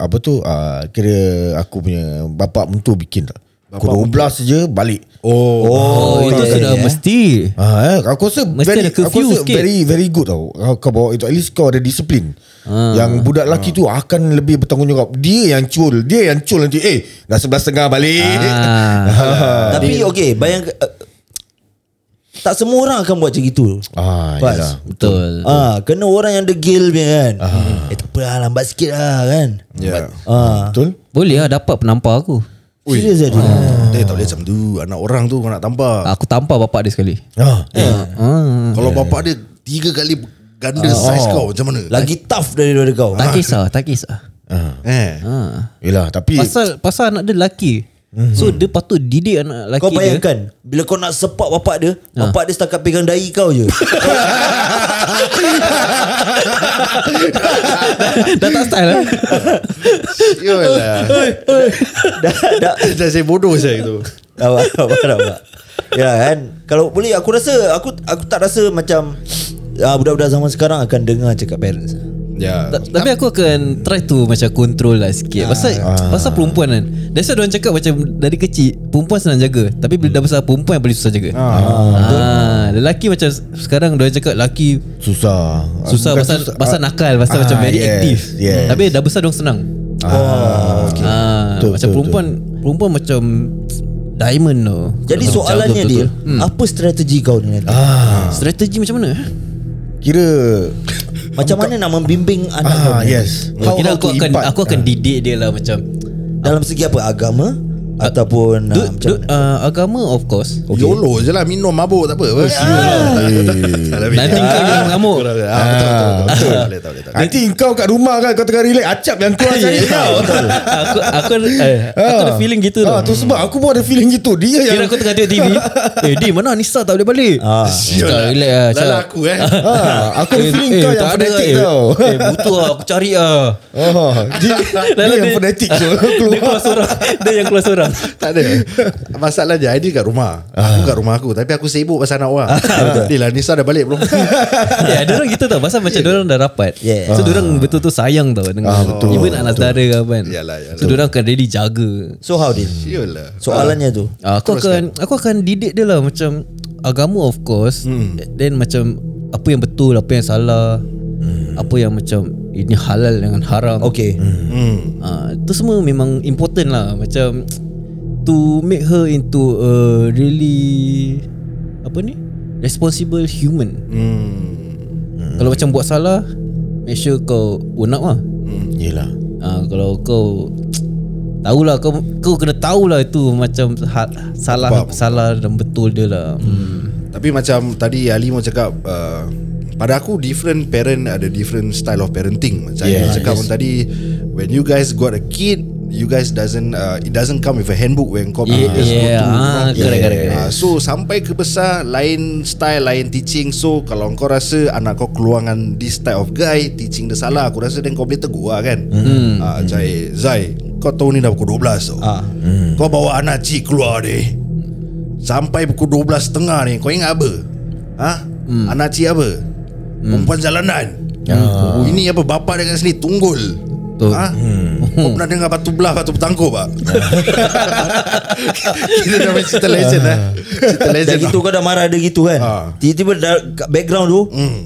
apa tu uh, kira aku punya bapak mentua bikin tak? Pukul 12 je balik.
Oh, oh.
Oh, itu
okay,
sudah
eh.
(laughs) mesti
Ha, eh, aku rasa
Mesti
very,
ada curfew
aku rasa
sikit.
very very good tau. Kau, kau bawa itu at least kau ada disiplin.
Ah,
Yang budak lelaki tu akan lebih bertanggungjawab. Dia yang cul, dia yang cul nanti eh dah 11.30 balik.
ah.
Ah.
Tapi okey, bayang uh, tak semua orang akan buat macam itu.
Ah,
Faz.
yalah.
Betul
Ah, kena orang yang degil punya kan. Eh tak apa lah, lambat sikit lah kan.
Ya
Ah.
Betul?
Boleh lah dapat penampar aku
Serius eh, tadi.
Dia Ah. Eh, tak boleh macam tu Anak orang tu kau nak tampar
Aku tampar bapak dia sekali
Ah.
ah.
Kalau bapak dia Tiga kali Ganda saiz kau Macam mana
Lagi tough daripada kau.
Ah, Tak kisah Tak kisah
Eh
ah.
Yalah, tapi
Pasal pasal anak dia lelaki. Mm-hmm. So dia patut didik anak lelaki
Kau
dia.
bayangkan Bila kau nak sepak bapak dia Bapak dia setakat pegang dahi kau je
(laughs) Dah tak style lah. (laughs)
Yolah
Dah Dah
(laughs) Dah saya bodoh saya itu
Nampak Nampak Nampak Ya kan Kalau boleh aku rasa Aku aku tak rasa macam ah, Budak-budak zaman sekarang Akan dengar cakap parents
Ya
Ta- Tapi aku akan try to macam control lah sikit.
Ah.
Pasal pasal perempuan kan. That's why orang cakap macam dari kecil perempuan senang jaga. Tapi bila dah besar perempuan yang paling susah jaga. Ah, lelaki macam sekarang dia cakap lelaki
susah.
susah
Ah, Bukan
pasal pasal nakal, pasal
Ah,
macam very
yes,
aktif.
yes.
Tapi dah besar dia senang.
Oh
Okay. Ah,
Betul,
macam
betul,
perempuan perempuan macam diamond tu.
Jadi
Kalau
soalannya
macam
dia
betul-betul. Hmm.
Apa strategi kau ni nanti
Strategi macam mana? eh?
Ah, Kira
Macam mana nak membimbing anak kau
ah
ni?
yes.
Kau kira
How- how
aku
to Ah.
akan
impart.
aku akan didik dia lah macam
Dalam segi apa Agama Ataupun
du,
ah, Macam
du,
mana
uh, agama of course.
okay. YOLO je lah Minum mabuk tak apa Eh, Bos. (laughs) Salah
Nanti
minum.
kau yang mengamuk.
Ah, betul, betul, betul, betul. Tak boleh, tak boleh, tak boleh.
Nanti kau kat rumah kan Kau tengah relax Acap yang
(laughs)
keluar cari kau
aku aku eh, Ya, aku ada feeling gitu
ah,
tu.
Tu sebab aku pun ada feeling gitu Dia
Kira
yang
aku tengah
(laughs)
tengok TV. eh, di mana Nisa tak boleh balik.
Ah.
Kau relax lah.
Lala
cakap.
aku
(laughs)
eh
ah, Aku ada
Eh,
feeling
eh,
kau yang
tak ada,
fanatik
eh.
tau
Eh, butuh lah, aku cari ah.
oh, (laughs) Dia, (laughs) dia
Lala
yang fanatik so,
Dia
Keluar
keluar seorang. Dia yang keluar
(laughs)
seorang.
Tak ada Masalahnya Aidil kat rumah
Ah.
Aku kat rumah aku Tapi aku sibuk pasal anak orang Dia lah Nisa dah balik
(laughs)
belum
ya, ada orang gitu tau. Pasal macam orang dah rapat.
Yeah.
So, orang betul-betul sayang tau dengan
Ah, betul.
even anak saudara ke apa kan.
Yalah, yalah.
So, orang akan really jaga.
So how Din
Yolah
Soalannya tu
Ah, aku akan aku akan didik dia lah macam agama of course then macam apa yang betul apa yang salah apa yang macam ini halal dengan haram
Okay
Hmm
ah tu semua memang important lah macam to make her into a really apa ni responsible human kalau macam buat salah make sure kau own up lah
Yelah
Ah kalau kau tahulah kau kau kena tahulah itu macam ha, salah
Faham.
salah dan betul dia lah. Hmm.
Tapi macam tadi Ali mau cakap uh, pada aku different parent ada different style of parenting. Macam yeah,
Yeah,
cakap yes. tadi when you guys got a kid you guys doesn't uh, it doesn't come with a handbook when kau
Yeah,
just
yeah.
go through, you know?
Ah, correct, correct, correct.
Ah, so sampai ke besar lain style lain teaching so kalau kau rasa anak kau keluar dengan this type of guy teaching dia salah aku rasa then kau boleh tegur lah kan
Hmm.
mm. ah, macam eh Zai kau tahu ni dah pukul 12 tau ah. kau bawa anak cik keluar ni Sampai pukul 12.30 ni Kau ingat apa? Ha? Hmm. Anak cik apa? Hmm. Perempuan jalanan hmm. Ini apa bapak dia kat sini Tunggul
Betul.
Ha? Hmm. Ya. Kau pernah dengar batu belah Batu bertangkup tak? (laughs) Kita dah main cerita legend lah Cerita
Dah
legend
gitu kau dah marah dia gitu kan
Ha.
Tiba-tiba da- kat background tu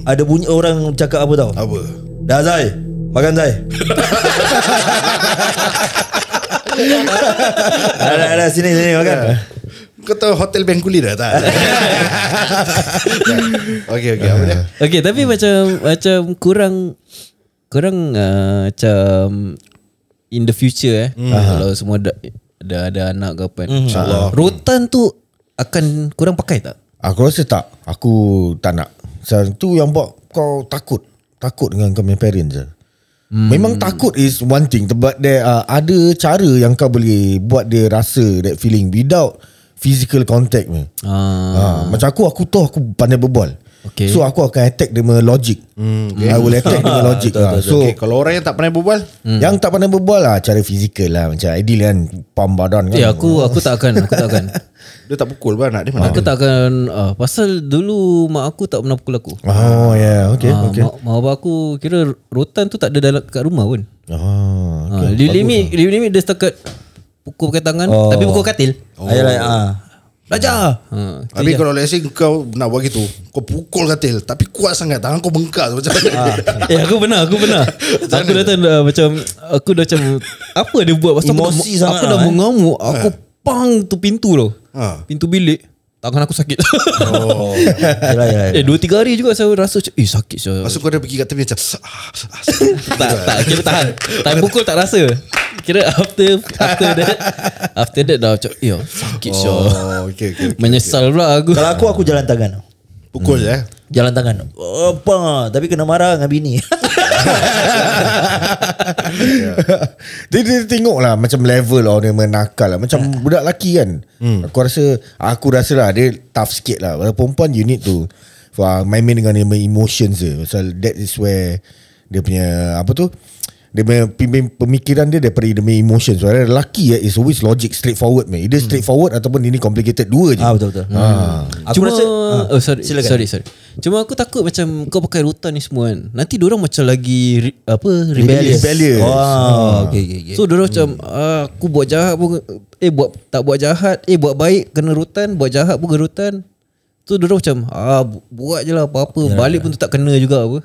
Ada bunyi orang cakap apa tau
tau. Apa?
Dah Zai Makan
(laughs)
Zai Dah dah dah sini sini makan
Ya. Kau tahu Hotel Bengkuli dah tak? okay okay
Eh,
apa dia?
Okay tapi macam macam kurang kurang uh, macam in the future eh kalau semua dah dah ada anak ke apa kan. Insyaallah. Rotan tu akan kurang pakai tak?
Aku rasa tak Aku tak nak Sebab tu yang buat kau takut Takut dengan kau punya parents je Hmm. Memang takut is one thing But there are ada cara yang kau boleh Buat dia rasa that feeling Without physical contact ni
Ah.
Ha, macam aku aku tahu aku pandai berbual.
Okay.
So aku akan attack dia punya logic mm, okay. I will attack (laughs) dia punya logic lah. So
Okay, kalau orang yang tak pandai berbual
Hmm.
mm. Yang tak pandai berbual lah Cara fizikal lah Macam ideal kan Pam badan kan
Ya aku aku tak akan aku tak (laughs) akan.
Dia tak pukul pun anak dia mana
Aku tak akan ah, pasal dulu mak aku tak pernah pukul aku.
Oh yeah Okay,
Ya,
Ah,
okay.
Mak, mak abang aku kira rotan tu tak ada dalam kat rumah pun.
Ah,
Okay, ha, limit lah. limit dia setakat pukul pakai tangan
Oh.
oh. tapi pukul katil.
Oh. Ayalah, ah.
Raja. Ha, itu
Habis
je.
kalau let's say kau nak buat gitu Kau pukul katil Tapi kuat sangat Tangan kau bengkak tu macam mana
(laughs) Eh aku pernah Aku
(laughs)
pernah Aku datang dah macam Aku dah macam Apa dia buat Pasal aku dah,
Emosi sangat
aku dah
lah, eh.
mengamuk Aku pang tu pintu tau
Ha.
Pintu bilik Tangan aku sakit (laughs)
Oh.
Yalah, yalah.
(laughs)
Eh 2-3 hari juga Saya rasa macam Eh sakit saya
Lepas tu kau dah pergi kat tepi macam ah, ah,
tak, tak kira tahan Tahan pukul tak rasa Kira after After that After that dah macam Eh sakit saya
Oh okay, okay, okay.
Menyesal pula aku
Kalau aku aku jalan tangan.
Pukul hmm. eh
Jalan tangan. Apa? Tapi kena marah dengan bini.
(laughs) dia, dia tengok lah Macam level orang dia menakal lah Macam
Hmm.
budak lelaki kan Aku rasa Aku rasa lah Dia tough sikit lah Kalau perempuan you need to uh, Main-main dengan dia punya emotions dia Pasal that is where Dia punya Apa tu dia punya pem- pemikiran dia daripada dia punya emotions Soalnya lelaki eh, is always logic straightforward man.
Hmm.
Either straightforward ataupun ini complicated dua
(laughs)
je
ah betul betul.
Ah.
Aku
Cuma
rasa
oh, sorry,
silakan.
sorry sorry. Cuma aku takut macam kau pakai rotan ni semua kan. Nanti diorang macam lagi re, apa rebellious.
Rebellious.
Wow, okay, okay,
(laughs)
okay.
So diorang macam ah, aku buat jahat pun eh buat tak buat jahat, eh buat baik kena rotan, buat jahat pun kena rotan. Tu diorang macam ah bu- buat je lah apa-apa, balik pun tu tak kena juga apa.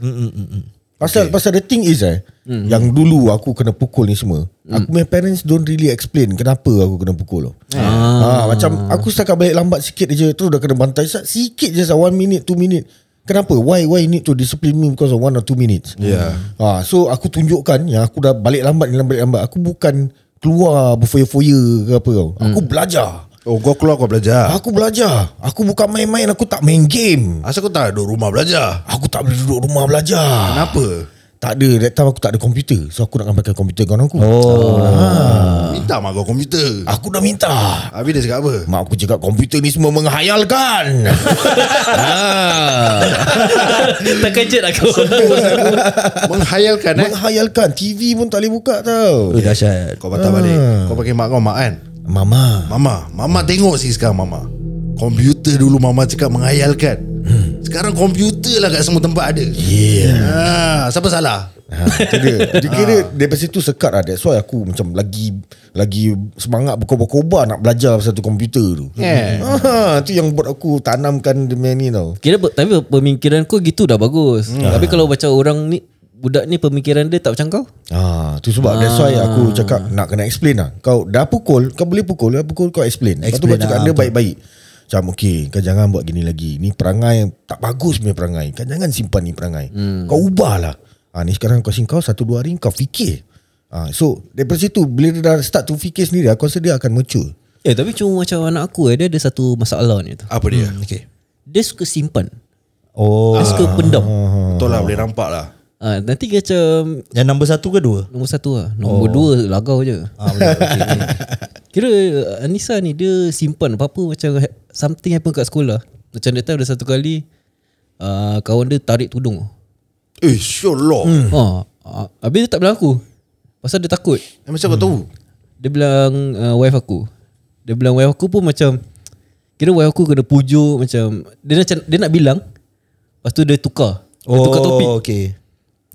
Pasal okay. pasal the thing is eh mm-hmm. yang dulu aku kena pukul ni semua. Mm. Aku my parents don't really explain kenapa aku kena pukul. Ah. ah macam aku setakat balik lambat sikit je terus dah kena bantai Sa- sikit je sah 1 minute 2 minute. Kenapa? Why why you need to discipline me because of one or two minutes?
Yeah.
Ah, so aku tunjukkan yang aku dah balik lambat ni balik lambat. Aku bukan keluar berfoya-foya ke apa tau. Aku belajar.
Oh kau keluar kau belajar
Aku belajar. Aku bukan main-main, aku tak main game.
Asal kau tak ada rumah belajar
Aku tak boleh duduk rumah belajar.
Kenapa
Tak ada That time aku tak ada komputer So aku nak pakai komputer kawan aku oh.
Minta mak kau komputer Ah,
Aku dah minta
Habis dia cakap apa
Mak aku cakap komputer ni semua menghayalkan Ah,
Terkejut aku.
Menghayalkan eh
Menghayalkan TV pun tak boleh buka tau
Oh, dahsyat.
Kau patah balik Kau pakai mak kau mak kan
Mama
Mama Mama tengok sih sekarang mama Komputer dulu mama cakap menghayalkan Sekarang komputer lah kat semua tempat ada
Yeah
ha, Siapa salah
ha, Itu dia Dia kira Daripada situ sekat lah That's why aku macam lagi Lagi semangat berkobar-kobar Nak belajar pasal tu komputer tu
Yeah.
ha, Itu yang buat aku Tanamkan dia punya ni tau
Kira pe- tapi pemikiran kau gitu dah bagus. Tapi kalau macam orang ni budak ni pemikiran dia tak macam kau.
Ah, tu sebab ah. that's why aku cakap nak kena explain lah. Kau dah pukul, kau boleh pukul, dah pukul kau explain. Lepas tu kau
Explain
cakap
lah,
dia
betul.
baik-baik. Macam okay Kau jangan buat gini lagi Ni perangai yang Tak bagus punya perangai Kau jangan simpan ni perangai hmm. Kau ubahlah ha, Ni sekarang kau singkau Satu dua hari Kau fikir ha, So Daripada situ Bila dia dah start to fikir sendiri Aku rasa dia akan mature
Eh tapi cuma macam anak aku eh, dia ada satu masalah ni tu.
Apa dia
Okay.
Dia suka simpan.
Oh,
Dia suka pendam.
Betul lah boleh nampak lah
Ah, nanti dia macam
yang nombor satu ke dua?
Nombor satu lah Nombor oh. dua lagau je ah, (laughs) Kira uh, Anissa ni Dia simpan apa-apa Macam ha- Something happen kat sekolah Macam that time ada satu kali uh, Kawan dia tarik tudung
Eh sure lah hmm.
hmm. ha, uh, Habis dia tak bilang aku Pasal dia takut
eh, Macam kau tahu
Dia bilang uh, Wife aku Dia bilang wife aku pun macam Kira wife aku kena pujuk Macam Dia nak, dia nak bilang Lepas tu dia tukar Dia
Oh,
tukar topik
okay.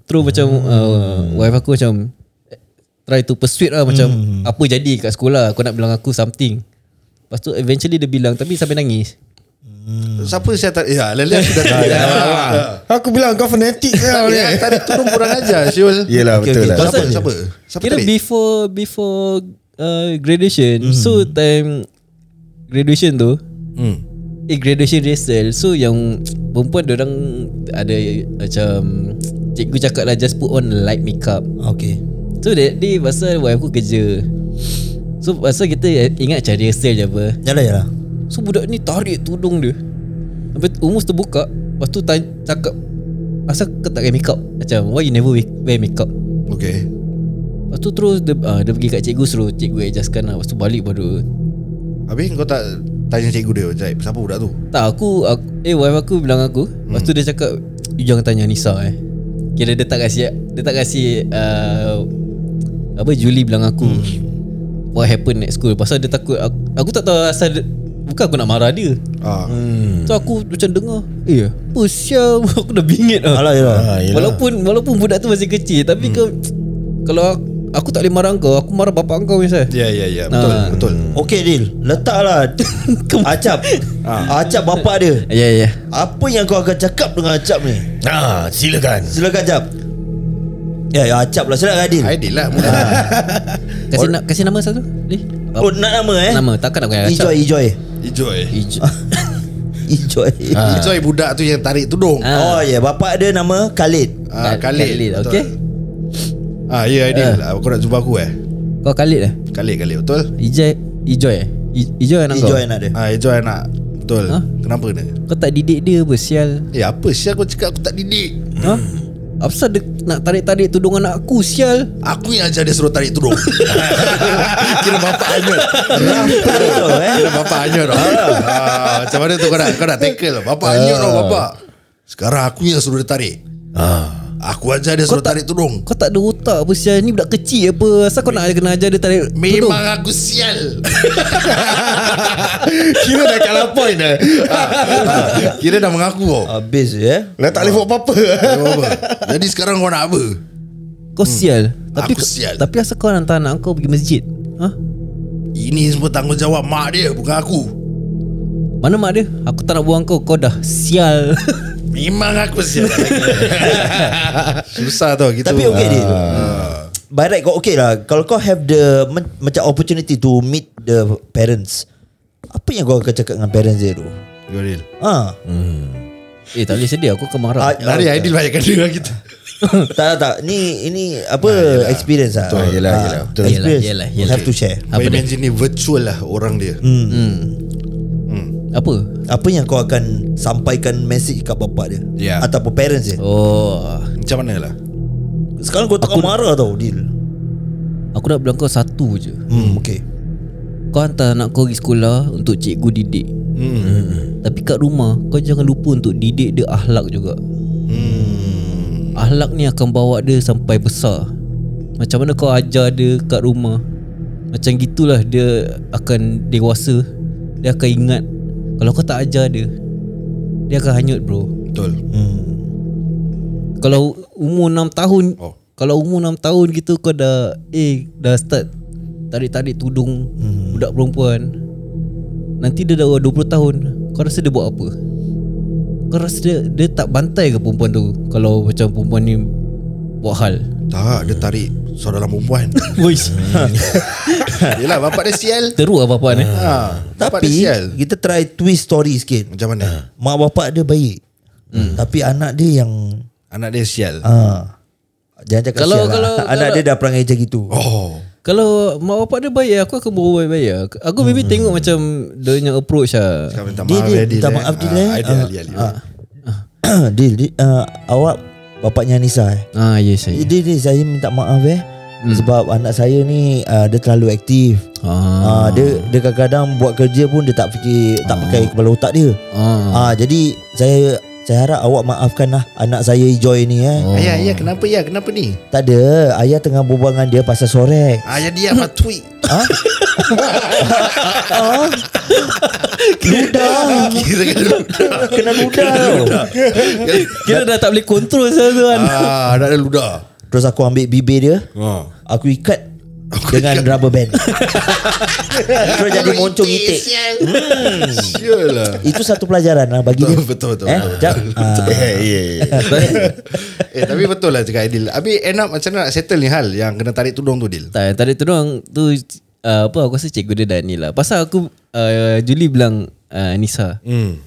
Terus macam uh, Wife aku macam eh, Try to persuade lah Macam Apa jadi kat sekolah Kau nak bilang aku something Lepas tu eventually dia bilang Tapi sampai nangis
Siapa saya tak Ya Ah, lele aku (laughs) dah tahu
Aku bilang kau fanatik
Tak
kau
ada,
ni
tak ada turun kurang aja Syul
Yelah
Okay, okay.
betul lah
Siapa
Pasal-
siapa? Siapa
Kira
tadi?
before Before uh, Graduation So time Graduation tu
Hmm.
Eh graduation rehearsal So yang Perempuan orang Ada Macam Cikgu cakap lah Just put on light makeup
Okay.
So that day Pasal wife aku kerja So pasal kita Ingat macam rehearsal je apa
Yalah, yalah.
So budak ni tarik tudung dia Sampai umus terbuka Lepas tu tanya, cakap Asal kau tak pakai makeup Macam why you never we- wear makeup
Okay
Lepas tu ah, terus dia, uh, dia pergi kat cikgu Suruh cikgu adjustkan lah Lepas tu balik baru
Habis kau tak Tanya cikgu dia Zaid siapa budak tu
Tak aku, aku Eh wife aku bilang aku hmm. Lepas tu dia cakap You jangan tanya Nisa eh Kira dia tak kasi Dia tak kasi uh, Apa Julie bilang aku hmm. What happened at school Pasal dia takut Aku, aku tak tahu asal dia, Bukan aku nak marah dia
ah.
hmm. So aku macam dengar Eh apa sial (laughs) Aku dah bingit lah
Alah yelah
Ah, yelah.
Walaupun walaupun budak tu masih kecil Tapi hmm. kau Kalau aku, aku tak boleh marah kau Aku marah bapak kau misal
Ya ya ya Betul
Ah.
betul
Okey Dil Letaklah Acap Acap bapak dia
Ya ya
Apa yang kau akan cakap dengan Acap ni
Ah, silakan.
Silakan Acap Ya, ya Acap lah Silakan Adil
Aidil lah budak.
Kasih, na- kasih nama satu Ni
Oh nak nama eh
Nama takkan aku yang acap
Ijoy Ijoy
Enjoy
(laughs) Ijo-
Ijoy
Ah.
Ah.
Enjoy budak tu yang tarik tudung
Ah.
(laughs) Oh ya yeah. Bapak dia nama Khalid
Ah, Khalid,
Khalid,
betul.
okay.
Ah, ya Aidil ah. Kau nak jumpa aku eh
Kau Khalid lah
Khalid Khalid betul
Ijoy Ijoy eh I- Ijoy anak kau
Ijoy anak dia
Ah, Enjoy anak Betul
Ah.
Hah?
Kenapa ni
Kau tak didik dia apa sial
Eh apa sial kau cakap aku tak didik
Ha?
Hmm.
Apa dia nak tarik-tarik tudung anak aku sial
Aku yang ajar dia suruh tarik tudung (laughs) Kira bapak hanyut
Rampai tu eh
Kira bapak hanyut tau. ah, Macam mana tu kau nak Kau nak tackle tau. Bapak hanyut tau bapak Sekarang aku yang suruh dia tarik Aku ajar dia suruh tarik tudung
Kau tak ada otak apa sial Ni budak kecil apa Asal kau nak kena ajar dia tarik tudung
Memang aku sial
Kira dah kalah point dah.
Ah, Kira dah mengaku tau
Habis ya
Dah tak boleh buat apa-apa.
Apa-apa. Jadi sekarang kau nak apa
Kau sial Tapi
Hmm. Aku sial.
Tapi asal kau hantar anak kau pergi masjid Ha?
Ini semua tanggungjawab mak dia Bukan aku
Mana mak dia? Aku tak nak buang kau Kau dah sial (laughs)
Memang aku sial (laughs) Susah tau gitu Ah,
Tapi okey Dil By right kau okay lah Kalau kau have the men- Macam opportunity to meet the parents Apa yang kau akan cakap dengan parents dia tu
Goril
Ha
Eh tak boleh sedih Aku akan marah
Ah,
Lari Aidil banyakkan dia kita
tak tak tak Ni ini apa experience lah
Betul, yelah,
Ah,
yelah, betul.
Experience
Yelah, yelah, yelah.
Have to share
Apa imagine ni virtual lah orang dia
Hmm.
Hmm.
hmm.
Apa?
Apa yang kau akan Sampaikan message kat bapak dia
Ya.
Ataupun parents dia
Oh
Macam mana lah
Sekarang kau tengah marah tau Dil
Aku nak bilang kau satu je
Hmm okay
Kau hantar anak kau pergi sekolah Untuk cikgu didik hmm. Tapi kat rumah Kau jangan lupa untuk didik dia ahlak juga hmm. Ahlak ni akan bawa dia sampai besar Macam mana kau ajar dia kat rumah Macam gitulah dia akan dewasa Dia akan ingat Kalau kau tak ajar dia Dia akan hanyut bro
Betul
Kalau umur 6 tahun oh.
Oh.
Kalau umur 6 tahun gitu kau dah Eh dah start Tarik-tarik tudung hmm. Budak perempuan Nanti dia dah 20 tahun Kau rasa dia buat apa? Kau rasa dia, dia tak bantai ke perempuan tu Kalau macam perempuan ni Buat hal
Tak dia tarik
(laughs)
Saudara perempuan
Woish
Yelah bapak dia sial
Teruk lah perempuan eh
ha, Bapak
Tapi
dia
Ah.
sial
Kita try twist story sikit
Macam mana
Mak bapak dia baik Tapi anak dia yang
Anak dia sial
Ah. Jangan cakap
Kalau-
sial lah.
kalau-
Anak
kalau-
dia dah perangai macam gitu
Oh
Kalau mak bapak dia baik Aku akan berbual baik-baik lah. Aku maybe tengok macam Dia punya approach lah
Kau minta
Dia-
maaf
dia-
Aidil
minta maaf, Dil, eh.
Ah, Aidil
Ah,
Aidil Aidil.
(coughs) Dil, Dil uh, Awak Bapaknya Nisa eh
Ah yes
Eh,
saya
Dil, Dil saya minta maaf eh Sebab anak saya ni uh, Dia terlalu aktif
ah.
Ah, dia dia kadang-kadang buat kerja pun dia tak fikir tak pakai kepala otak dia.
Ah.
Ah, jadi saya saya harap awak maafkan lah anak saya Joy ni eh.
Ayah ayah kenapa ya Kenapa ni
Tak ada, ayah tengah berbual dengan dia pasal
(laughs)
sore.
Ayah dia apa tweet
Ludah,
(laughs) Kira kan. kira
kena ludah tau.
Kira dah tak boleh kontrol saya tu (laughs) kan
Ah, Anak dia ludah
Terus aku ambil bibir dia,
Ah.
aku ikat dengan
ikat.
rubber band. Terus jadi
Orang
moncong itik.
sial. Sial lah
Itu satu pelajaran lah bagi dia.
Betul (laughs) betul betul. Ya,
Eh, jap. Ah,
(laughs)
Eh, eh, eh.
eh tapi betul lah cakap Aidil. Abi end up macam mana nak settle ni hal yang kena tarik tudung tu Dil?
Tak, tarik tudung tu uh, apa aku rasa cikgu dia dah ni lah. Pasal aku uh, Julie bilang uh, Nisa.
Hmm.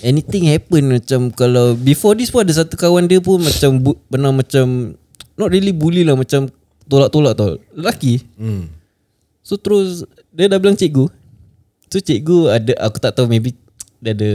Anything happen macam kalau before this pun ada satu kawan dia pun macam bu, pernah macam not really bully lah macam tolak-tolak tau. Lelaki.
Hmm.
So terus dia dah bilang cikgu. So cikgu ada aku tak tahu maybe dia ada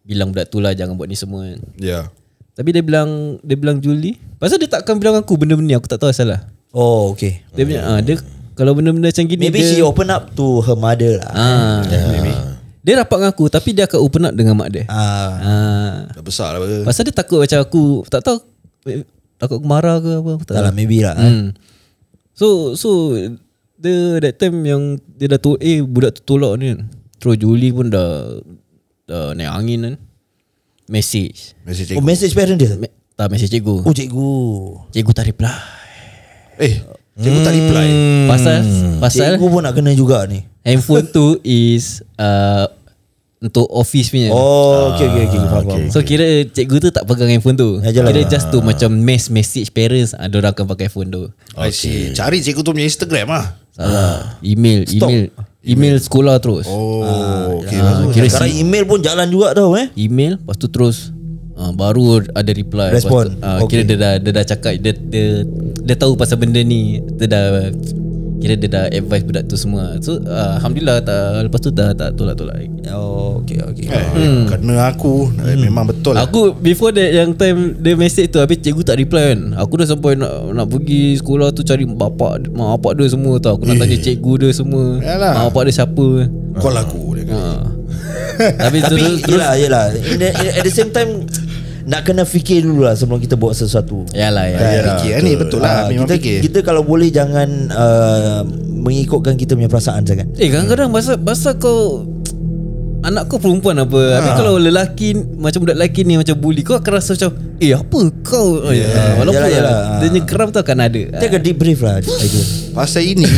bilang budak tu lah jangan buat ni semua. kan.
Ya.
Tapi dia bilang dia bilang Julie. Pasal dia takkan bilang aku benda-benda ni aku tak tahu asal lah.
Oh, okay.
Dia punya ah dia kalau benda-benda macam gini
Maybe
dia,
she open up to her mother lah.
Ah, yeah. Dia rapat dengan aku Tapi dia akan open up dengan mak dia
Ah,
ah.
Dah besar lah apa.
Pasal dia takut macam aku Tak tahu eh, Takut aku marah ke apa Aku tak
tak lah
tahu
maybe lah. Hmm.
hmm. So So Dia that time yang Dia dah tolak Eh budak tu tolak ni kan Terus Juli pun dah Dah naik angin kan Message
Message
Oh
cikgu.
message parent dia.
Me- Tak message cikgu
Oh cikgu.
Cikgu tak reply
Eh, cikgu tak reply.
Hmm.
Pasal Pasal
Cikgu pun nak kena juga ni.
Handphone tu is uh, Untuk office punya
Oh, okay, okay, okay.
Ah,
Faham, faham.
So kira cikgu tu tak pegang handphone tu
Ya, jelah.
Kira just tu macam mass message parents Ada orang akan pakai phone tu
I see. Cari cikgu tu punya Instagram lah.
Ah.
Salah Email Email Email sekolah terus
Oh, okay.
Ah, kira
Sekarang
si-
email pun jalan juga tau eh.
Email Lepas tu terus uh, Baru ada reply Lepas
Respon.
tu, uh, Kira
Okay.
dia dah, dia dah cakap dia, dia, dia tahu pasal benda ni Dia dah Kira dia dah advise budak tu semua So uh, Alhamdulillah tak, Lepas tu dah tak tolak-tolak lagi
Oh, okay, okay.
Eh, Kena aku eh, Memang betul lah.
Aku before that yang time dia message tu habis cikgu tak reply kan. Aku dah sampai nak nak pergi sekolah tu cari bapak mak bapak dia semua tau. Aku nak tanya cikgu dia semua.
Eh. Yalah.
Mak bapak dia siapa.
Call aku dia (laughs) kata.
Ha. Tapi
Tapi
terus terus
yelah, yelah. In the, in, at the same time, nak kena fikir dulu lah sebelum kita buat sesuatu. Kan?
Yalah ya.
Ya, fikir ni betul
Ah,
lah Memang
kita,
fikir
kita kalau boleh jangan uh, mengikutkan kita punya perasaan sangat.
Eh kadang-kadang pasal pasal kau anak kau perempuan apa. Habis
Ha.
kalau lelaki macam budak lelaki ni macam bully kau akan rasa macam eh apa kau
Ya,
yeah. walaupun lah,
Yalah, yalah.
dia punya keram tu akan ada.
Take a deep breath lah Aidul.
Pasal ini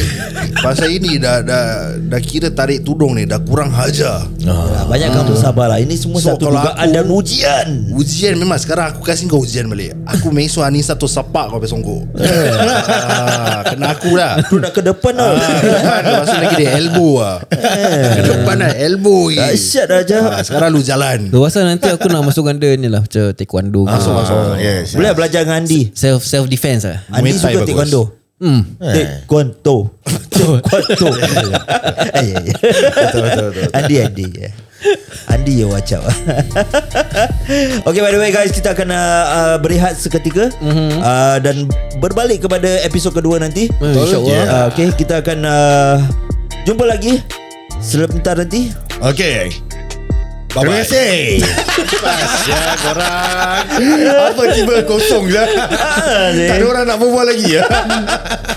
Pasal ini dah, dah Dah kira tarik tudung ni Dah kurang hajar
Ah, banyak kamu sabar lah. Ini semua
So,
satu
kalau
dugaan
aku-
dan ujian.
Ujian memang Sekarang aku kasih kau ujian balik Aku mesu Anissa tu sepak kau besongko
Eh.
ah, Kena aku lah
Tu dah ke depan tau.
Ah.
Depan Lepas tu lagi dia elbow lah
Eh.
Ke Depan lah elbow lagi
Dahsyat dah Jah.
Ah, Sekarang lu jalan
Tu pasal nanti aku nak masukkan dia ni lah macam taekwondo ke.
Masuk masuk
Ah, yes.
Boleh belajar dengan Andi.
self self defense ah.
Andi
Muay Thai
suka
bagus.
taekwondo.
Hmm.
Eh. Taekwondo. (laughs) Taekwondo. Ay, ay, ay. eh, Andi Andi. ya. Andi ya wacau (laughs) Okay by the way guys Kita akan uh, berehat seketika mm-hmm. uh, Dan berbalik kepada episod kedua nanti
Hmm, InsyaAllah
Yeah.
uh, Okay kita akan uh, Jumpa lagi Selebentar nanti
Okay Terima kasih (laughs) Apa tiba kosong je Tak ada orang nak berbual lagi ya